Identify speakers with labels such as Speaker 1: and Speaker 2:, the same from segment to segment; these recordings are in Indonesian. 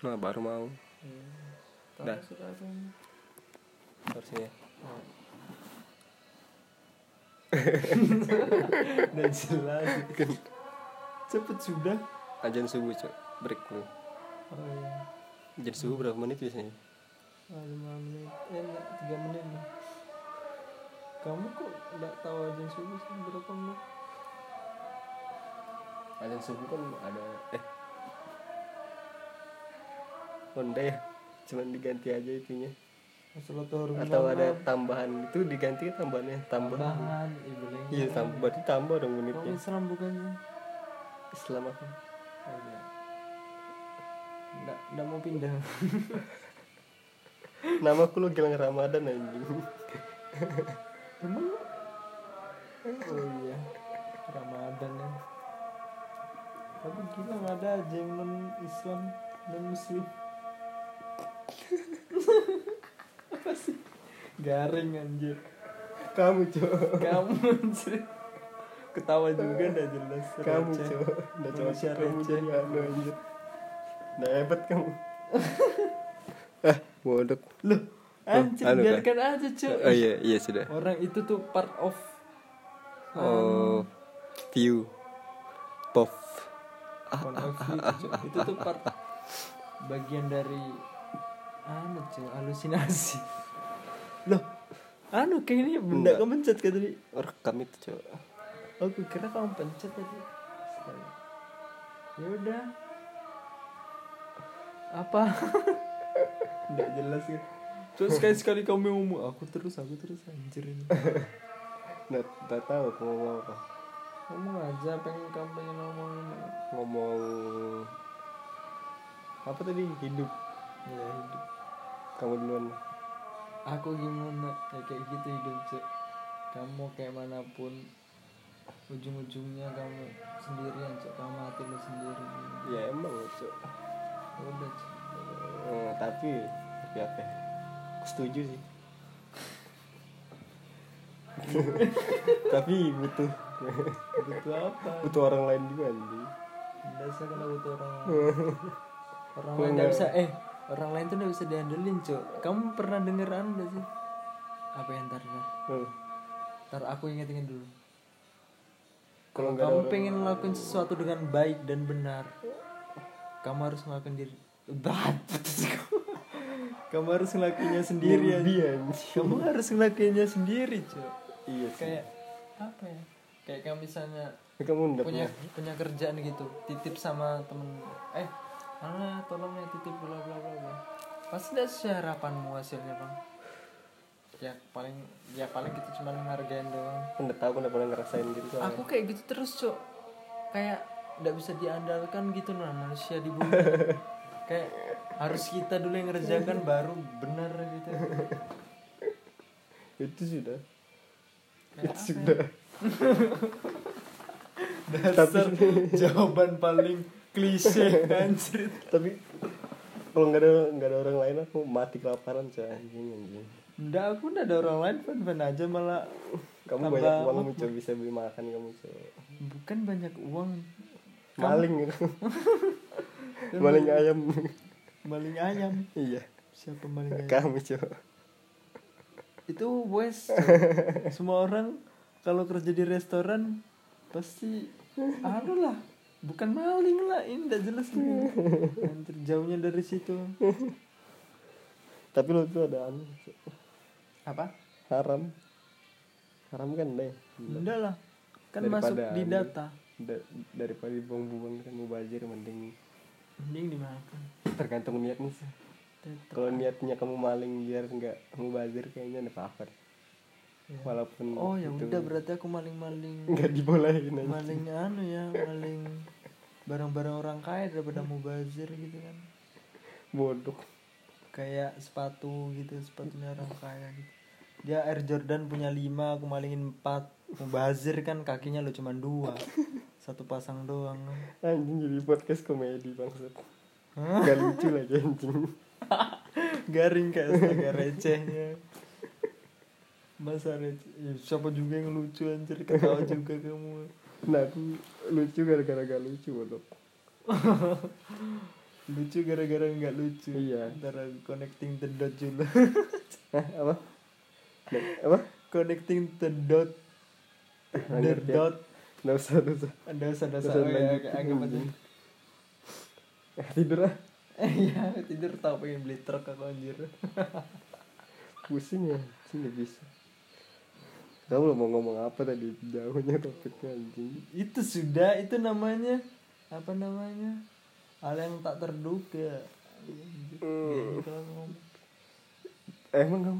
Speaker 1: Nah, baru mau Iya.
Speaker 2: Tahu
Speaker 1: Dah.
Speaker 2: sudah Bang.
Speaker 1: harusnya.
Speaker 2: Udah Nah, jelas. Cepet sudah.
Speaker 1: Ajan subuh, Cok. Break dulu.
Speaker 2: Oh iya.
Speaker 1: Ajan subuh berapa menit biasanya?
Speaker 2: Ah, lima menit. Eh, enggak, tiga menit nih. Kamu kok nggak tahu aja subuh sih berapa menit?
Speaker 1: Ajan subuh kan ada eh Honda ya. Cuman diganti aja itunya.
Speaker 2: Sholat zuhur
Speaker 1: Atau
Speaker 2: berapa?
Speaker 1: ada tambahan itu diganti kan tambahannya tambah.
Speaker 2: tambahan ibu lengger.
Speaker 1: Iya, tambah berarti tambah dong
Speaker 2: Kamu
Speaker 1: menitnya.
Speaker 2: Islam bukannya?
Speaker 1: Islam apa?
Speaker 2: Oh, iya. Nggak, nggak mau pindah.
Speaker 1: Nama aku lu Gilang Ramadan anjing.
Speaker 2: Emang? Oh iya. Ramadan ya. Tapi gila nggak ada aja yang non Islam dan Muslim. Apa sih? Garing anjir.
Speaker 1: Kamu, Cok.
Speaker 2: Kamu anjir. Ketawa juga nggak jelas.
Speaker 1: Kamu,
Speaker 2: Receh.
Speaker 1: Cok. Udah cowok
Speaker 2: Manusia
Speaker 1: kamu
Speaker 2: receh.
Speaker 1: jadi anu anjir. Udah hebat kamu. ah, bodoh.
Speaker 2: Loh, anjir
Speaker 1: anu kan?
Speaker 2: biarkan aja, Cuk.
Speaker 1: Oh iya, iya sudah.
Speaker 2: Orang itu tuh part of um,
Speaker 1: Oh, view, pop,
Speaker 2: point of view, Cuk. Itu tuh part bagian dari anu, Cuk, halusinasi. Loh, anu kayaknya benda
Speaker 1: Enggak.
Speaker 2: kamu pencet kayak tadi.
Speaker 1: rekam itu cok.
Speaker 2: Aku kira kamu pencet tadi. Astaga. Ya udah. Apa? Enggak jelas ya. Terus sekali-sekali kamu ngomong aku terus, aku terus anjir ini.
Speaker 1: Nggak, nggak tahu aku ngomong apa.
Speaker 2: Ngomong aja pengen kamu pengen ngomongin
Speaker 1: Ngomong apa tadi hidup
Speaker 2: ya hidup.
Speaker 1: kamu duluan.
Speaker 2: Aku gimana ya kayak gitu hidup cek. Kamu kayak manapun ujung-ujungnya kamu sendirian cek kamu mati lu sendiri. Ya
Speaker 1: Ya emang cok.
Speaker 2: Udah cek.
Speaker 1: Eh, tapi tapi apa? ya? Aku setuju sih. tapi butuh
Speaker 2: Butuh apa?
Speaker 1: butuh orang lain juga anjing. Eh,
Speaker 2: Biasa kalau butuh orang lain. orang lain nggak bisa eh orang lain tuh nggak bisa diandelin cok. Kamu pernah denger anu nggak sih? Apa yang ntar ntar?
Speaker 1: Eh,
Speaker 2: Ntar aku inget-inget dulu.
Speaker 1: Kalau nggak ada
Speaker 2: kamu
Speaker 1: orang-
Speaker 2: pengen ngelakuin sesuatu dengan baik dan benar kamu harus ngelakuin diri Bat. kamu harus ngelakuinnya sendiri
Speaker 1: Sendirian.
Speaker 2: aja. kamu harus ngelakuinnya sendiri cok
Speaker 1: Iya sih.
Speaker 2: kayak apa ya kayak kamu misalnya
Speaker 1: Kamu udah
Speaker 2: punya punya kerjaan gitu titip sama temen eh Ana tolong ya titip bla bla bla bla pasti ada sih harapanmu hasilnya bang ya paling ya paling kita cuma ngehargain doang
Speaker 1: Kan udah tahu kan udah pernah ngerasain gitu soalnya.
Speaker 2: aku kayak gitu terus cok kayak nggak bisa diandalkan gitu nah manusia di bumi kayak harus kita dulu yang ngerjakan baru benar gitu
Speaker 1: itu sudah
Speaker 2: kayak apa ya?
Speaker 1: sudah
Speaker 2: dasar jawaban paling klise anjir
Speaker 1: tapi kalau nggak ada nggak ada orang lain aku mati kelaparan coy anjing anjing
Speaker 2: ndak aku ndak ada orang lain fan fan aja malah
Speaker 1: kamu
Speaker 2: tambah
Speaker 1: banyak uang
Speaker 2: mabuk.
Speaker 1: muncul bisa beli makan kamu coy
Speaker 2: bukan banyak uang
Speaker 1: maling gitu maling ayam
Speaker 2: maling ayam
Speaker 1: iya
Speaker 2: siapa maling ayam
Speaker 1: kamu coy
Speaker 2: itu wes semua orang kalau kerja di restoran pasti aduh lah bukan maling lah ini tidak jelas ini Anjir, jauhnya dari situ
Speaker 1: tapi lo tuh ada anu Cok.
Speaker 2: apa
Speaker 1: haram haram kan deh
Speaker 2: enggak lah kan
Speaker 1: Daripada
Speaker 2: masuk di
Speaker 1: ambil.
Speaker 2: data
Speaker 1: Da- daripada dibuang-buang kan mubazir mending
Speaker 2: mending dimakan
Speaker 1: tergantung niatnya sih
Speaker 2: Tetep.
Speaker 1: kalau niatnya kamu maling biar nggak mubazir kayaknya ada apa
Speaker 2: Ya.
Speaker 1: walaupun
Speaker 2: oh ya
Speaker 1: itu
Speaker 2: udah berarti aku maling-maling
Speaker 1: nggak dibolehin aja
Speaker 2: maling anu ya maling barang-barang orang kaya daripada mubazir gitu kan
Speaker 1: bodoh
Speaker 2: kayak sepatu gitu sepatunya orang kaya gitu dia Air Jordan punya lima aku malingin empat mubazir kan kakinya lu cuman dua satu pasang doang
Speaker 1: anjing jadi podcast komedi bangsat
Speaker 2: Hah?
Speaker 1: gak lucu lagi anjing
Speaker 2: garing kayak astaga recehnya masa receh Ya, siapa juga yang lucu anjir ketawa juga kamu
Speaker 1: nah aku lucu gara-gara gak lucu bodoh
Speaker 2: lucu gara-gara nggak lucu
Speaker 1: Iya.
Speaker 2: antara connecting the dot dulu
Speaker 1: Hah, apa? Nggak- Nah, apa?
Speaker 2: connecting the dot
Speaker 1: Nggak
Speaker 2: the
Speaker 1: ngerti.
Speaker 2: dot
Speaker 1: Nggak ya. Nah, usah, nggak usah.
Speaker 2: ada dosa dosa
Speaker 1: Dosa
Speaker 2: oh ya
Speaker 1: lanjut.
Speaker 2: agak agak macam
Speaker 1: Eh, tidur ah.
Speaker 2: iya tidur tau pengen beli truk aku anjir
Speaker 1: Pusing ya, pusing nggak bisa. Kamu lo mau ngomong apa tadi? Jauhnya topiknya anjing.
Speaker 2: itu sudah itu namanya apa namanya hal yang tak terduga Anjir, geli kalau ngomong.
Speaker 1: Eh, emang kamu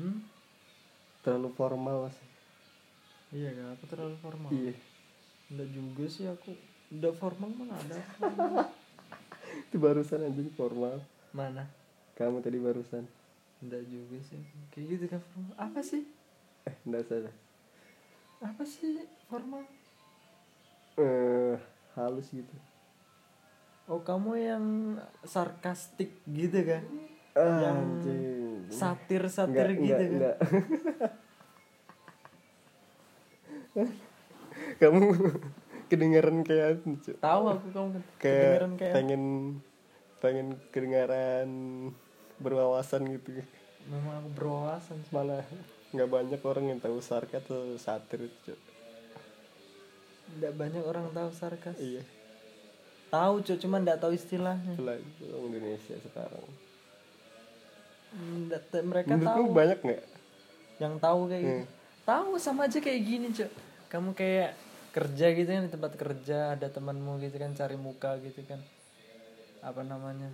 Speaker 2: hmm?
Speaker 1: terlalu formal mas.
Speaker 2: iya gak aku terlalu formal
Speaker 1: Iya.
Speaker 2: Enggak juga sih aku udah formal mana ada
Speaker 1: Itu barusan anjing formal.
Speaker 2: mana
Speaker 1: Kamu tadi barusan.
Speaker 2: Enggak juga sih kayak gitu kan formal apa sih
Speaker 1: Eh, enggak salah.
Speaker 2: apa sih formal
Speaker 1: Eh, halus gitu.
Speaker 2: oh kamu yang sarkastik gitu kan
Speaker 1: Ah,
Speaker 2: Yang
Speaker 1: anjing.
Speaker 2: satir
Speaker 1: Enggak,
Speaker 2: satir gitu
Speaker 1: enggak,
Speaker 2: kan
Speaker 1: enggak. Kamu kedengaran kayak anu, Cuk.
Speaker 2: tahu aku kamu ke-
Speaker 1: kayak,
Speaker 2: kedengeran kayak
Speaker 1: pengen pengen kedengaran berwawasan gitu.
Speaker 2: memang aku berwawasan sih.
Speaker 1: Malah nggak banyak orang yang tahu sarkas atau satir itu, Cuk.
Speaker 2: Nggak banyak orang tahu sarkas
Speaker 1: Iya,
Speaker 2: tahu cuy cuman nggak tahu istilahnya
Speaker 1: itulah itu orang Indonesia sekarang.
Speaker 2: Nggak ta- mereka tahu
Speaker 1: Menurutmu banyak nggak?
Speaker 2: yang tahu kayak gitu.
Speaker 1: Hmm.
Speaker 2: tahu sama aja kayak gini cuy kamu kayak kerja gitu kan di tempat kerja ada temanmu gitu kan cari muka gitu kan apa namanya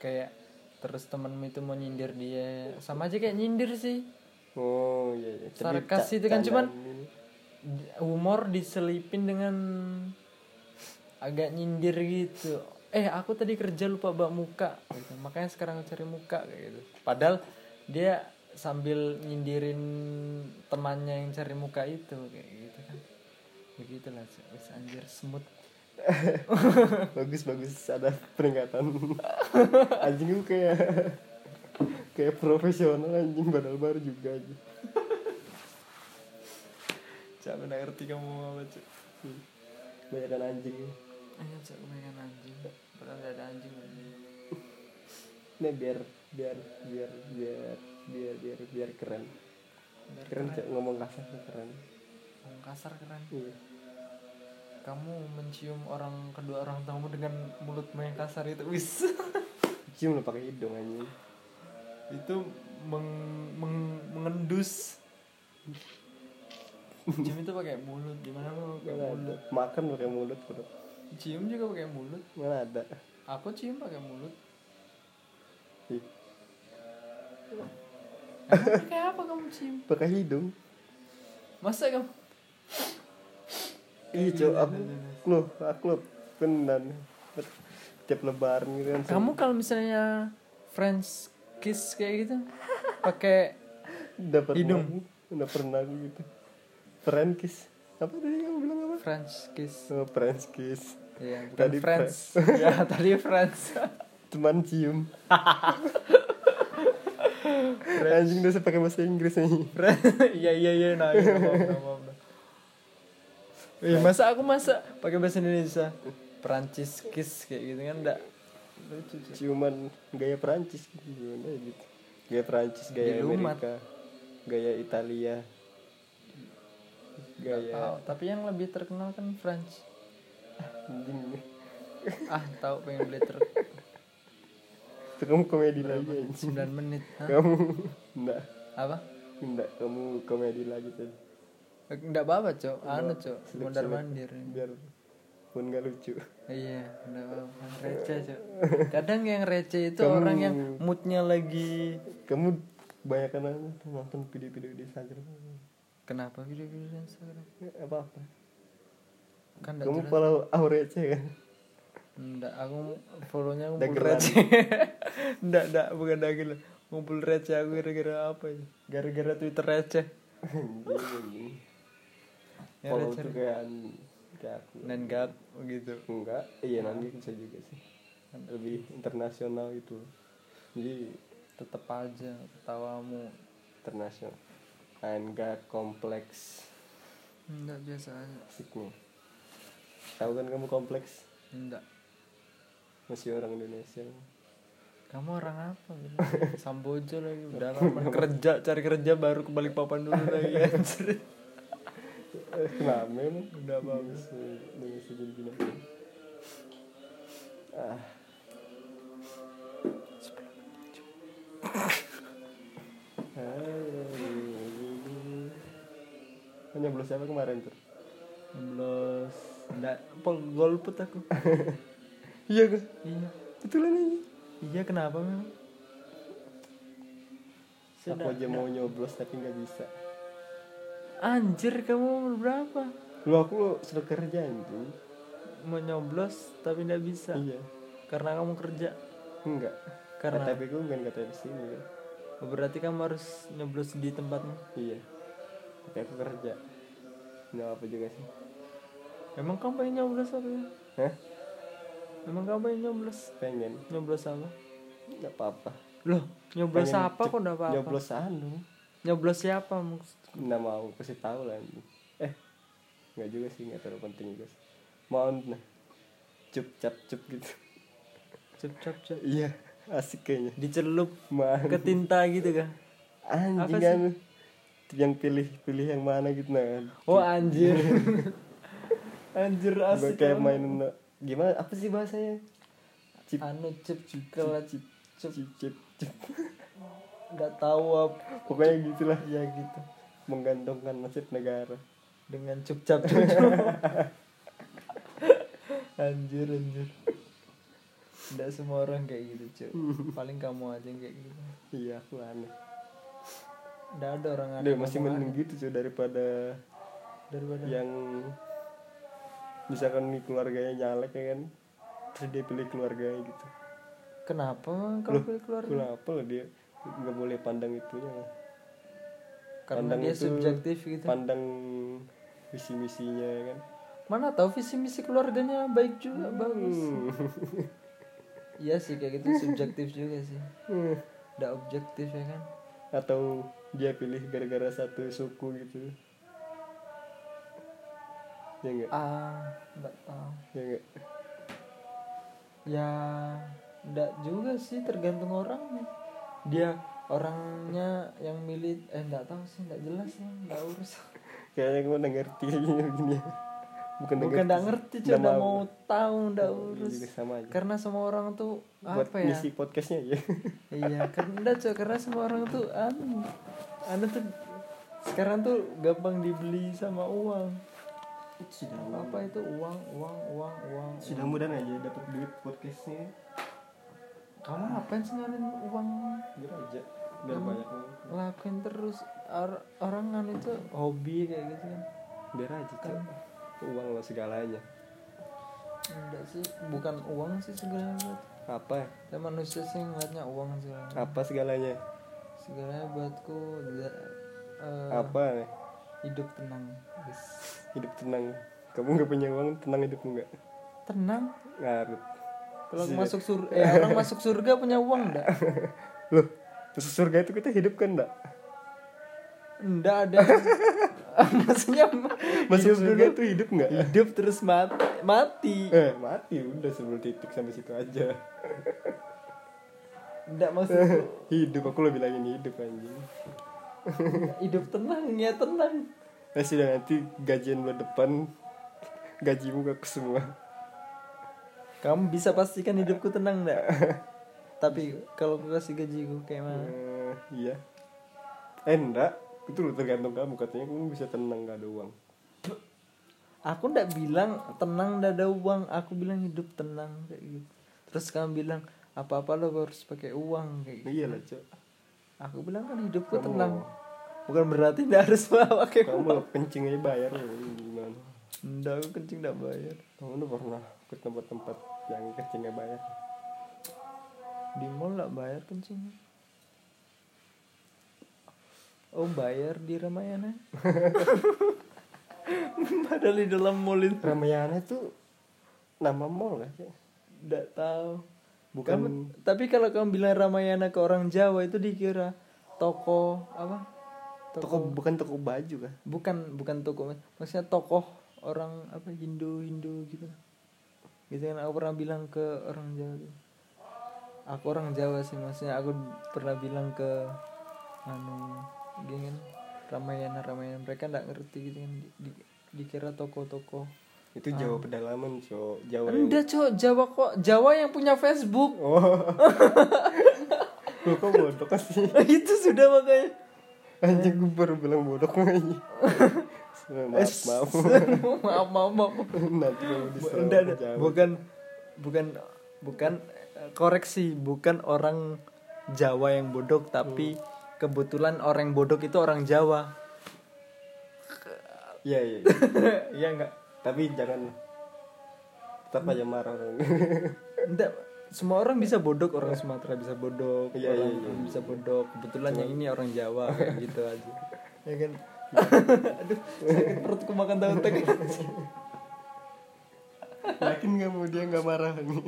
Speaker 2: kayak terus temanmu itu mau nyindir dia sama aja kayak nyindir sih
Speaker 1: Oh iya, iya. Jadi
Speaker 2: Sarkas
Speaker 1: ca-
Speaker 2: itu kan, cuman-
Speaker 1: candanin.
Speaker 2: D- humor diselipin dengan agak nyindir gitu eh aku tadi kerja lupa bawa muka gitu. makanya sekarang cari muka kayak gitu padahal dia sambil nyindirin temannya yang cari muka itu kayak gitu kan begitulah Cuk. Wis, anjir semut
Speaker 1: bagus bagus ada peringatan anjing gue kayak kayak profesional anjing padahal baru juga aja
Speaker 2: Cak, aku nggak ngerti kamu mau apa Cak.
Speaker 1: kebanyakan anjing
Speaker 2: Ayo Cak, aku pengen anjing Padahal nggak ada anjing anjing.
Speaker 1: nah biar biar biar biar biar biar biar keren
Speaker 2: Biar
Speaker 1: keren cak ngomong kasar tuh keren
Speaker 2: Ngomong Hmm, kasar keren
Speaker 1: iya
Speaker 2: Kamu mencium orang kedua orang tamu dengan mulutmu yang kasar itu Wis
Speaker 1: cium lo pakai hidung anjing
Speaker 2: itu meng- meng- mengendus cium itu pakai mulut gimana mau
Speaker 1: mana
Speaker 2: pakai
Speaker 1: ada
Speaker 2: mulut
Speaker 1: makan pakai mulut bro
Speaker 2: cium juga pakai mulut
Speaker 1: mana ada
Speaker 2: aku cium pakai mulut
Speaker 1: Ih,
Speaker 2: Emang pakai apa kamu cium
Speaker 1: pakai hidung
Speaker 2: masa kamu
Speaker 1: iya cok aku lo aku lo penan tiap lebaran gitu kan
Speaker 2: kamu kalau misalnya French kiss kayak gitu pakai
Speaker 1: Udah pernah
Speaker 2: Hidung.
Speaker 1: Udah pernah aku gitu Friend kiss Apa tadi kamu bilang apa?
Speaker 2: French kiss
Speaker 1: Oh, French kiss
Speaker 2: Iya, bukan
Speaker 1: Tadi
Speaker 2: French. ya, tadi French.
Speaker 1: Cuman cium Anjing udah saya pakai bahasa Inggris nih
Speaker 2: Iya, iya, iya, nah, iya, maaf, maaf, maaf. Iya, masa aku masa pakai bahasa Indonesia? Perancis kiss kayak gitu kan enggak lucu. Cuk.
Speaker 1: Ciuman gaya Perancis gitu Gimana ya gitu Gaya Perancis, gaya
Speaker 2: Dilumat.
Speaker 1: Amerika Gaya Italia
Speaker 2: Tahu,
Speaker 1: Gaya
Speaker 2: Oh, tapi yang lebih terkenal kan French.
Speaker 1: Anjing
Speaker 2: Ah, tahu pengen beli truk
Speaker 1: Itu kamu komedi lagi anjing
Speaker 2: 9 menit. Hah?
Speaker 1: Kamu Enggak
Speaker 2: Apa?
Speaker 1: Enggak, kamu komedi lagi tadi
Speaker 2: Enggak apa-apa, Cok. Anu, Cok.
Speaker 1: Selip-selip.
Speaker 2: Mondar mandir.
Speaker 1: Biar pun gak lucu
Speaker 2: Iya, enggak apa-apa. Receh, Cok. Kadang yang receh itu
Speaker 1: Kamu-
Speaker 2: orang yang moodnya lagi
Speaker 1: kamu kebanyakan anu, nonton video-video di Instagram
Speaker 2: Kenapa video-video di Instagram?
Speaker 1: apa apa
Speaker 2: Kan enggak
Speaker 1: kamu
Speaker 2: jelas.
Speaker 1: follow Aurece kan
Speaker 2: Enggak, aku follownya ngumpul
Speaker 1: Dagelan.
Speaker 2: receh. Enggak, enggak, bukan dagel. Ngumpul receh aku gara-gara apa ya? Gara-gara Twitter receh.
Speaker 1: Anjing, anjing.
Speaker 2: Ya,
Speaker 1: follow
Speaker 2: receh.
Speaker 1: tuh kayak an- kayak aku
Speaker 2: Nenggak gitu.
Speaker 1: enggak iya nanti bisa juga sih lebih internasional itu jadi
Speaker 2: Tetep aja ketawamu.
Speaker 1: internasional enggak kompleks
Speaker 2: Enggak biasa aja.
Speaker 1: musiknya tahu kan kamu kompleks
Speaker 2: Enggak.
Speaker 1: masih orang Indonesia
Speaker 2: Kamu orang apa? Bilang. Samboja lagi udah lama kerja cari kerja baru ke Balikpapan dulu lagi anjir.
Speaker 1: Eh, kenapa emang
Speaker 2: Udah bagus.
Speaker 1: Indonesia Indonesia jadi gini ah hanya belum siapa kemarin tuh
Speaker 2: 16 enggak pol golput aku.
Speaker 1: iya kan
Speaker 2: iya.
Speaker 1: betulan aja
Speaker 2: Iya kenapa memang?
Speaker 1: aku aja mau nyoblos tapi nggak bisa
Speaker 2: Anjir kamu umur berapa?
Speaker 1: lu aku sudah kerja anjing
Speaker 2: Mau nyoblos tapi nggak bisa
Speaker 1: iya
Speaker 2: karena kamu kerja.
Speaker 1: enggak
Speaker 2: Karena-
Speaker 1: KTP ku bukan KTP sini kan?
Speaker 2: Berarti kamu harus nyoblos di tempatmu.
Speaker 1: iya tapi aku kerja nggak apa juga sih
Speaker 2: Emang kamu pengen nyoblos apa? ya?
Speaker 1: Hah?
Speaker 2: Emang kamu pengen nyoblos?
Speaker 1: pengen
Speaker 2: Nyoblos apa?
Speaker 1: nggak apa-apa
Speaker 2: Loh, nyoblos
Speaker 1: Pengen
Speaker 2: apa kok enggak apa-apa? Nyoblos.
Speaker 1: nyoblos anu
Speaker 2: siapa maksud?
Speaker 1: nggak mau kasih tahu lah anjing. eh nggak juga sih nggak terlalu penting juga sih. mau nah cup cap cup gitu
Speaker 2: Cep cep cep.
Speaker 1: iya asik kayaknya
Speaker 2: Dicelup
Speaker 1: man
Speaker 2: ke tinta gitu kah? Apa
Speaker 1: anjing
Speaker 2: sih?
Speaker 1: anu yang pilih pilih yang mana gitu nah kan
Speaker 2: Oh anjir. anjir
Speaker 1: Gua
Speaker 2: asik. kan?
Speaker 1: kayak
Speaker 2: kamu.
Speaker 1: main nah, gimana apa sih bahasanya Cip.
Speaker 2: Anu cep juga lah
Speaker 1: Cip.
Speaker 2: cep cep.
Speaker 1: cip cip cip
Speaker 2: Enggak tahu apa
Speaker 1: pokoknya gitulah
Speaker 2: ya gitu.
Speaker 1: menggantungkan nasib negara
Speaker 2: Dengan cup cap cup. anjir anjir. Enggak semua orang kayak gitu, Cuk. Paling kamu aja yang kayak gitu.
Speaker 1: iya aku aneh
Speaker 2: Enggak ada orang
Speaker 1: Aduh, masih
Speaker 2: kamu
Speaker 1: mending gitu cuy daripada
Speaker 2: aneh. daripada
Speaker 1: yang misalkan nih keluarganya nyalek ya kan terus dia pilih keluarganya gitu
Speaker 2: Kenapa emang kalau
Speaker 1: Loh,
Speaker 2: pilih keluarga?
Speaker 1: kenapa lah dia nggak boleh pandang itunya
Speaker 2: Karena
Speaker 1: pandang
Speaker 2: dia
Speaker 1: itu-
Speaker 2: subjektif gitu.
Speaker 1: pandang visi misinya ya kan
Speaker 2: Mana tahu visi misi keluarganya baik
Speaker 1: Hmm.
Speaker 2: juga, bagus. Iya sih kayak gitu subjektif juga sih.
Speaker 1: Hmm.
Speaker 2: Enggak objektif ya kan.
Speaker 1: atau dia pilih gara-gara satu suku gitu ya enggak
Speaker 2: Ah, enggak tahu.
Speaker 1: ya enggak
Speaker 2: Ya, enggak juga sih tergantung orangnya. Dia orangnya yang milih eh enggak tahu sih, enggak jelas ya, enggak urus.
Speaker 1: kayaknya gue udah ngerti kayaknya begini ya. bukan udah
Speaker 2: Bukan enggak
Speaker 1: sih.
Speaker 2: ngerti,
Speaker 1: Udah
Speaker 2: cuma mau tahu, enggak
Speaker 1: Iya
Speaker 2: urus.
Speaker 1: juga sama aja
Speaker 2: Karena semua orang tuh
Speaker 1: buat
Speaker 2: apa ya?
Speaker 1: ngisi podcastnya ya
Speaker 2: iya karena enggak, Cok. karena semua orang tuh anu anu tuh sekarang tuh gampang dibeli sama uang
Speaker 1: sudah
Speaker 2: apa itu uang uang uang uang
Speaker 1: sudah mudah aja dapat duit podcastnya
Speaker 2: kamu ngapain sih ngalin uang
Speaker 1: biar aja biar
Speaker 2: Hmm.
Speaker 1: banyak
Speaker 2: ngelakuin terus Or- orang kan itu hobi kayak gitu kan
Speaker 1: biar aja
Speaker 2: Cok.
Speaker 1: uang lo segalanya
Speaker 2: enggak sih bukan uang sih segala buat
Speaker 1: apa
Speaker 2: tapi manusia sih ngeliatnya uang segala
Speaker 1: apa segalanya
Speaker 2: segalanya buatku ja- eh,
Speaker 1: apa
Speaker 2: hidup tenang guys.
Speaker 1: hidup tenang kamu nggak punya uang tenang hidupmu nggak
Speaker 2: tenang
Speaker 1: ngarut
Speaker 2: kalau
Speaker 1: Zed.
Speaker 2: masuk surga eh, orang masuk surga punya uang enggak
Speaker 1: loh terus surga itu kita hidup kan enggak
Speaker 2: Enggak ada. Maksudnya
Speaker 1: masuk
Speaker 2: hidup
Speaker 1: Iya, surga Iya.
Speaker 2: dulu,
Speaker 1: itu hidup nggak
Speaker 2: hidup terus mati. Mati.
Speaker 1: eh mati udah sebelum titik sampai situ aja
Speaker 2: Enggak maksudku
Speaker 1: hidup aku lo bilangin hidup anjing
Speaker 2: hidup tenang ya tenang.
Speaker 1: nah sudah nanti gajian buat depan gajimu gak ke semua
Speaker 2: Kamu bisa pastikan hidupku tenang enggak? Tapi kalau aku kasih gajiku kayak mana?
Speaker 1: Eh, iya. Eh enggak, itu lu tergantung kamu katanya kamu bisa tenang gak ada uang.
Speaker 2: Aku enggak bilang tenang enggak ada uang, aku bilang hidup tenang kayak gitu. Terus kamu bilang apa-apa lo harus pakai uang kayak gitu.
Speaker 1: Iya lah cok.
Speaker 2: Aku bilang kan hidupku
Speaker 1: Kamu-
Speaker 2: tenang. Bukan berarti enggak harus pakai
Speaker 1: Kamu
Speaker 2: uang.
Speaker 1: lo kencing aja bayar lo gimana?
Speaker 2: Enggak, aku kencing enggak bayar.
Speaker 1: Kamu udah pernah ke tempat-tempat yang kencing gak bayar?
Speaker 2: Di mall lah bayar kencingnya. Oh bayar di Ramayana. Padahal di dalam mall itu
Speaker 1: Ramayana itu nama mall kan?
Speaker 2: nggak tahu.
Speaker 1: Bukan-
Speaker 2: Kamu- tapi kalau kamu bilang Ramayana ke orang Jawa itu dikira toko apa?
Speaker 1: Toko bukan toko baju kan?
Speaker 2: bukan bukan toko maksudnya tokoh orang apa Hindu Hindu gitu. gitu kan aku pernah bilang ke orang Jawa tuh. aku orang Jawa sih maksudnya aku pernah bilang ke anu gini kan Ramayana Ramayana mereka nggak ngerti gitu kan di, di- dikira toko-toko
Speaker 1: itu Jawa pedalaman cok Jawa yang-
Speaker 2: Enggak cok Jawa kok Jawa yang punya Facebook
Speaker 1: oh lu kok bodoh kan sih
Speaker 2: itu sudah makanya
Speaker 1: anjing gue baru bilang bodoh lagi maaf maaf
Speaker 2: maaf maaf maaf
Speaker 1: nanti gue diserang
Speaker 2: Enggak,
Speaker 1: ke
Speaker 2: enggak.
Speaker 1: Jawa
Speaker 2: bukan bukan bukan eh, koreksi bukan orang Jawa yang bodoh tapi
Speaker 1: Hmm.
Speaker 2: kebetulan orang yang bodoh itu orang Jawa
Speaker 1: iya iya iya.
Speaker 2: Iya enggak
Speaker 1: tapi jangan tetap aja marah orang
Speaker 2: enggak semua orang bisa bodok orang Sumatera bisa bodok
Speaker 1: Iya,
Speaker 2: orang
Speaker 1: iya, iya.
Speaker 2: bisa bodok kebetulan yang ini orang Jawa kayak gitu aja
Speaker 1: Iya
Speaker 2: ya kan aduh sakit perutku makan tahu tek
Speaker 1: yakin kamu dia nggak marah nih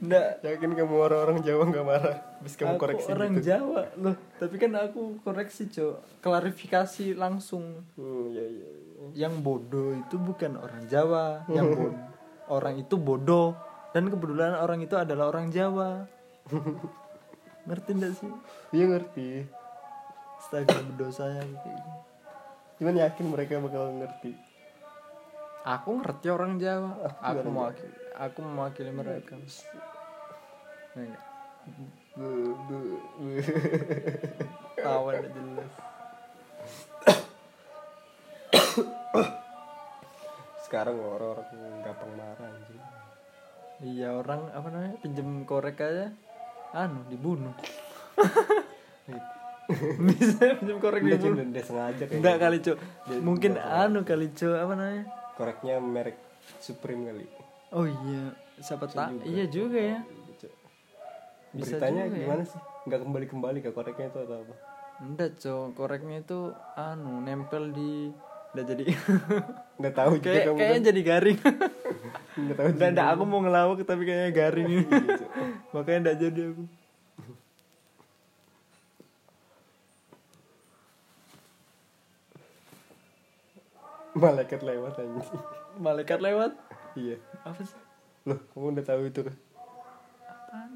Speaker 2: enggak
Speaker 1: yakin kamu orang-orang Jawa nggak marah bis kamu
Speaker 2: aku
Speaker 1: koreksi
Speaker 2: orang
Speaker 1: gitu
Speaker 2: Jawa loh tapi kan aku koreksi cok klarifikasi langsung
Speaker 1: hmm, iya iya iya.
Speaker 2: yang bodoh itu bukan orang Jawa yang bod- orang itu bodoh dan kebetulan orang itu adalah orang Jawa ngerti nggak sih
Speaker 1: dia ngerti
Speaker 2: astaga berdosanya kayak gini.
Speaker 1: cuman yakin mereka bakal ngerti
Speaker 2: aku ngerti orang Jawa aku
Speaker 1: juga orang
Speaker 2: mewakili aku mewakili mereka Nah, enggak.
Speaker 1: Bu, bu, bu.
Speaker 2: tawa nggak jelas
Speaker 1: sekarang orang-orang gampang marah anjing
Speaker 2: iya orang apa namanya pinjem korek aja anu dibunuh
Speaker 1: Gitu.
Speaker 2: bisa pinjem korek
Speaker 1: Enggak,
Speaker 2: dibunuh
Speaker 1: cuman dia sengaja gitu. kayaknya.
Speaker 2: Enggak kali cok
Speaker 1: Dia-
Speaker 2: Mungkin
Speaker 1: dia-
Speaker 2: anu kali cok Apa namanya
Speaker 1: koreknya merek Supreme kali
Speaker 2: Oh iya Siapa tak Iya juga ya
Speaker 1: Gitu.
Speaker 2: Bisa
Speaker 1: beritanya
Speaker 2: juga ya.
Speaker 1: gimana sih nggak kembali kembali ke koreknya itu atau apa
Speaker 2: Enggak cok Koreknya itu Anu Nempel di Udah jadi
Speaker 1: nggak tahu juga
Speaker 2: Kayak,
Speaker 1: kamu
Speaker 2: Kayaknya jadi garing
Speaker 1: kan? nggak tahu
Speaker 2: Enggak enggak aku mau ngelawak Tapi kayaknya garing ini
Speaker 1: Iya, Cok.
Speaker 2: Makanya enggak jadi aku
Speaker 1: malaikat lewat anjing
Speaker 2: Malaikat lewat
Speaker 1: iya
Speaker 2: Apa sih
Speaker 1: loh kamu udah tahu itu kan
Speaker 2: Apaan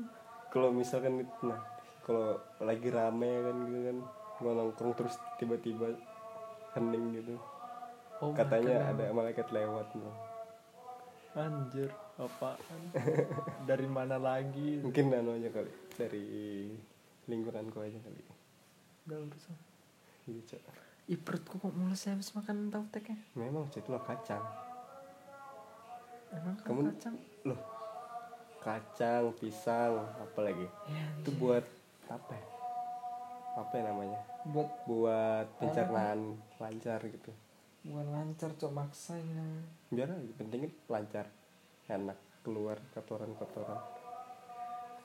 Speaker 1: kalau misalkan itu- nah kalau lagi rame kan gitu kan mau nongkrong terus tiba-tiba hening gitu
Speaker 2: Oh my
Speaker 1: katanya
Speaker 2: God.
Speaker 1: ada malaikat lewat loh.
Speaker 2: Anjir Apaan Dari mana lagi
Speaker 1: mungkin nano aja kali dari lingkunganku aja kali
Speaker 2: Udah urusan
Speaker 1: Iya, Cok.
Speaker 2: Ih perutku kok mulus ya habis makan tautek ya
Speaker 1: memang cek lo kacang
Speaker 2: Emang kan
Speaker 1: Kamu-
Speaker 2: kamu kacang
Speaker 1: loh kacang pisang apa lagi
Speaker 2: Ya
Speaker 1: itu buat apa ya? apa ya namanya
Speaker 2: buat
Speaker 1: buat
Speaker 2: Oh.
Speaker 1: pencernaan lancar gitu
Speaker 2: bukan lancar cok maksa ya. ini namanya.
Speaker 1: biar aja, pentingnya lancar enak keluar kotoran-kotoran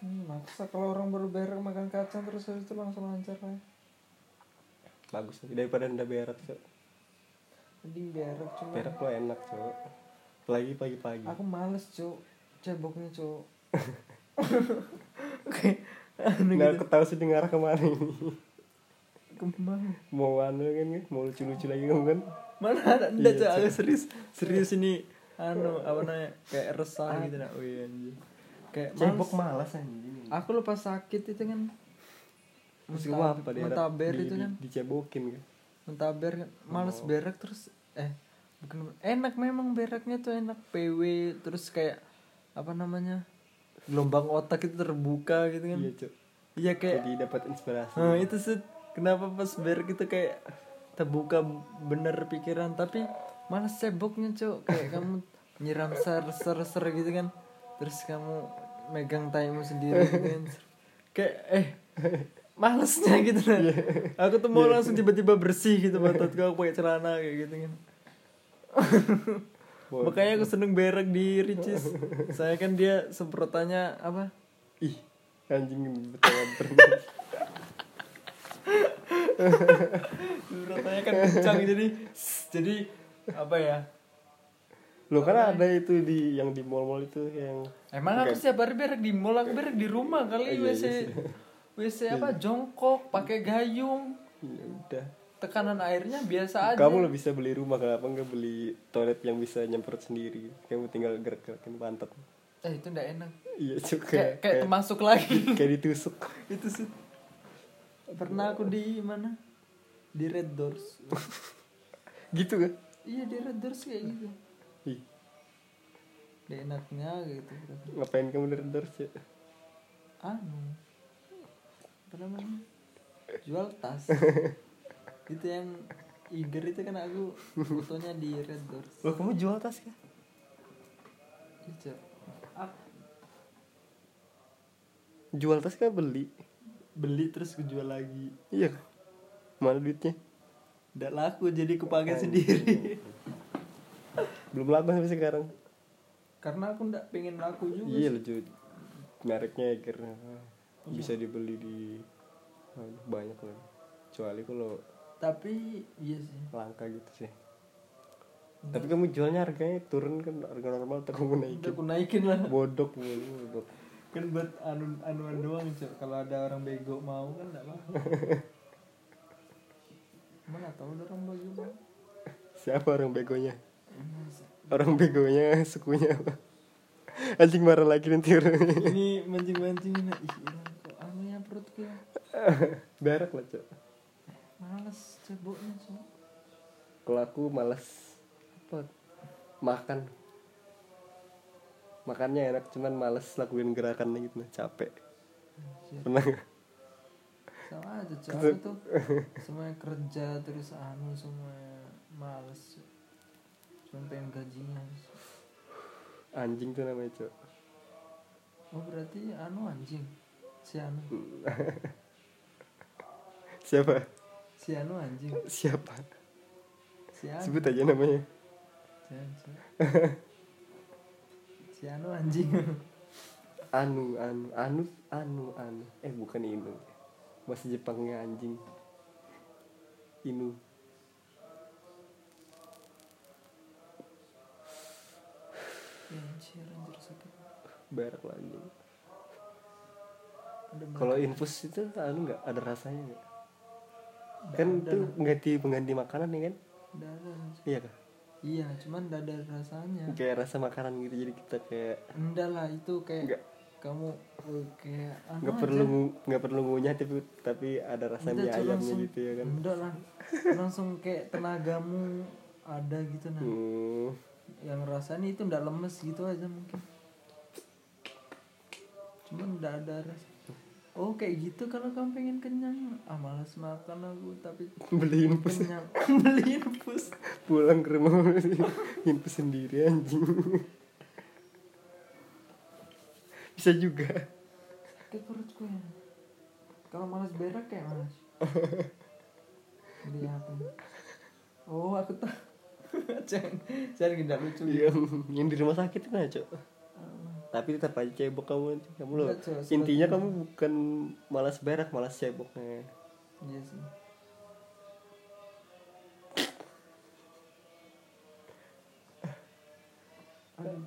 Speaker 2: ini maksa kalau orang baru berak makan kacang terus habis itu langsung lancar lah
Speaker 1: bagus lagi daripada ndak berak cok
Speaker 2: mending berak cuma
Speaker 1: berak lo enak cok lagi pagi-pagi
Speaker 2: aku males cok ceboknya cok oke anu
Speaker 1: nah
Speaker 2: gitu
Speaker 1: aku tahu sih dengar kemarin
Speaker 2: kembang
Speaker 1: mau anu kan kan, mau lucu-lucu lagi kamu kan
Speaker 2: mana ada
Speaker 1: Iya,
Speaker 2: enggak cok aku serius serius ini anu apa namanya kayak resah gitu nah wih anjir kayak males
Speaker 1: Anu. cebok malas anjing
Speaker 2: aku lupa sakit itu kan
Speaker 1: terus
Speaker 2: mentab-
Speaker 1: Ah, gua apa di
Speaker 2: mentaber
Speaker 1: di-
Speaker 2: itu
Speaker 1: di-
Speaker 2: kan
Speaker 1: dicebokin kan
Speaker 2: mentaber kan males
Speaker 1: Oh.
Speaker 2: berak terus eh bukan enak memang beraknya tuh enak PW terus kayak apa namanya gelombang otak itu terbuka gitu kan
Speaker 1: iya cok
Speaker 2: iya kayak
Speaker 1: jadi dapat inspirasi
Speaker 2: eh, itu sih kenapa pas berak itu kayak terbuka bener pikiran tapi malas ceboknya cok kayak kamu nyiram ser ser ser gitu kan terus kamu megang tayimu sendiri gitu kan kayak eh malesnya gitu nah. aku tuh mau langsung tiba-tiba bersih gitu pantat aku pakai celana kayak gitu kan
Speaker 1: Wah,
Speaker 2: makanya aku seneng berak di Ricis saya kan dia semprotannya apa
Speaker 1: ih anjing betul berenang
Speaker 2: semprotannya kan kencang jadi jadi apa ya
Speaker 1: lo kan ada itu di yang di mall-mall itu yang
Speaker 2: Emang aku setiap hari berak di mall, aku berak di rumah kali
Speaker 1: Iya,
Speaker 2: WC WC apa jongkok, pakai gayung.
Speaker 1: ya udah
Speaker 2: tekanan airnya biasa aja
Speaker 1: Kamu lo bisa beli rumah kenapa nggak beli toilet yang bisa nyemprot sendiri? Kamu tinggal gerak-gerakin pantat.
Speaker 2: eh itu ndak enak
Speaker 1: Iya
Speaker 2: kayak
Speaker 1: juga.
Speaker 2: kayak termasuk lagi
Speaker 1: kayak ditusuk.
Speaker 2: itu sih pernah aku di mana di Red Doors
Speaker 1: Gitu kan?
Speaker 2: iya di Red Doors kayak gitu
Speaker 1: Ih,
Speaker 2: Ndak enaknya gitu
Speaker 1: ngapain kamu dari Dors ya?
Speaker 2: anu apa namanya jual tas itu yang Iger itu kan aku fotonya di Red Doors
Speaker 1: Lo kamu jual tas kan?
Speaker 2: Iya, Cok. Aku
Speaker 1: Jual tas kan beli.
Speaker 2: beli terus aku jual lagi
Speaker 1: Iya. kan? Mana duitnya?
Speaker 2: ndak laku jadi
Speaker 1: Oh,
Speaker 2: kepake sendiri
Speaker 1: iya. Belum laku sampai sekarang.
Speaker 2: karena aku ndak pengen laku juga
Speaker 1: Iya lucu. Mereknya karena bisa dibeli di Aduh, banyak lagi. Kecuali kalau
Speaker 2: tapi iya sih
Speaker 1: langka gitu sih. Tapi kamu jualnya harganya turun kan harga normal terus kamu naikin.
Speaker 2: udah aku naikin lah
Speaker 1: Bodok mulu, bodok.
Speaker 2: kan buat anu anuan doang cok kalau ada orang bego mau kan ndak apa mana tahu ada orang bego mau
Speaker 1: Siapa orang begonya? Orang begonya sukunya apa? Anjing marah lagi nanti orangnya.
Speaker 2: ini mancing mancing nah ih ilang kok anu ya perutku ya
Speaker 1: Berak lah, Cok.
Speaker 2: males ceboknya cok
Speaker 1: Kalau aku malas apa? Makan. Makannya enak, cuman malas lakuin gerakannya gitu, nah, capek.
Speaker 2: Anjir.
Speaker 1: Pernah nggak?
Speaker 2: sama aja cok aku tuh semuanya kerja terus anu semuanya males cok cuma pengen gajinya
Speaker 1: anjing tuh namanya, Cok.
Speaker 2: oh berarti anu anjing si anu
Speaker 1: Siapa?
Speaker 2: si anu anjing
Speaker 1: Siapa?
Speaker 2: si anu
Speaker 1: Sebut aja namanya.
Speaker 2: si anu, Cok. si anu anjing
Speaker 1: Anu, anu, anu, anu, anu. Eh, bukan Inu. Bahasa Jepangnya anjing. Inu.
Speaker 2: Ya, anjir anjir sakit
Speaker 1: Berak lah anjing.
Speaker 2: Ada
Speaker 1: Kalau
Speaker 2: berat.
Speaker 1: infus itu anu nggak ada rasanya nggak?
Speaker 2: Nggak
Speaker 1: Kan
Speaker 2: ada
Speaker 1: itu
Speaker 2: lah.
Speaker 1: mengganti pengganti makanan ya kan?
Speaker 2: Nggak ada, anjir.
Speaker 1: Iya kah?
Speaker 2: iya cuman nggak ada rasanya
Speaker 1: Kayak rasa makanan gitu jadi kita kayak
Speaker 2: enggak lah itu kayak
Speaker 1: Nggak.
Speaker 2: kamu eh, kayak anu
Speaker 1: nggak
Speaker 2: aja.
Speaker 1: perlu ngu- nggak perlu ngunyah tapi tapi ada rasa
Speaker 2: Nggak,
Speaker 1: mie
Speaker 2: Cok,
Speaker 1: ayamnya
Speaker 2: langsung-
Speaker 1: gitu ya kan?
Speaker 2: nggak lah langsung kayak tenagamu ada gitu nah
Speaker 1: Hmm,
Speaker 2: yang rasanya itu nggak lemes gitu aja mungkin cuman nggak ada rasa oh kayak gitu kalau kamu pengen kenyang ah malas makan aku tapi
Speaker 1: beli infus
Speaker 2: kenyang beliin pus
Speaker 1: pulang ke rumah beli infus sendiri anjing. Bisa juga.
Speaker 2: sakit perutku ya kalau malas berak kayak malas beli apa oh aku tahu jangan jangan gak lucu
Speaker 1: Iya,
Speaker 2: ya
Speaker 1: yang di rumah sakit kan cok. Tapi tetap aja cebok kamu anjing. kamu loh.
Speaker 2: Nggak, Cok, surat-
Speaker 1: Intinya kamu bukan malas berak, malas ceboknya.
Speaker 2: iya sih Aduh,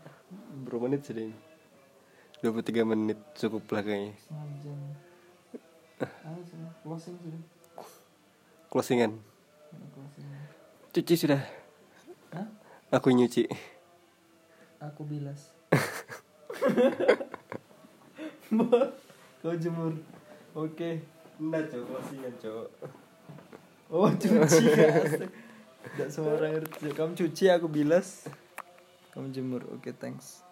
Speaker 1: Berapa menit sudah ini? 23 menit cukup lah kayaknya
Speaker 2: setengah jam Ayo sudah closing sudah
Speaker 1: Closingan
Speaker 2: Ayo, closing
Speaker 1: Cuci sudah
Speaker 2: Hah?
Speaker 1: Aku nyuci
Speaker 2: aku bilas kau jemur oke
Speaker 1: Nah cowok closingan cowok
Speaker 2: Oh cuci ya asik. Tidak semua orang ngerti Kamu cuci aku bilas Kamu jemur Oke thanks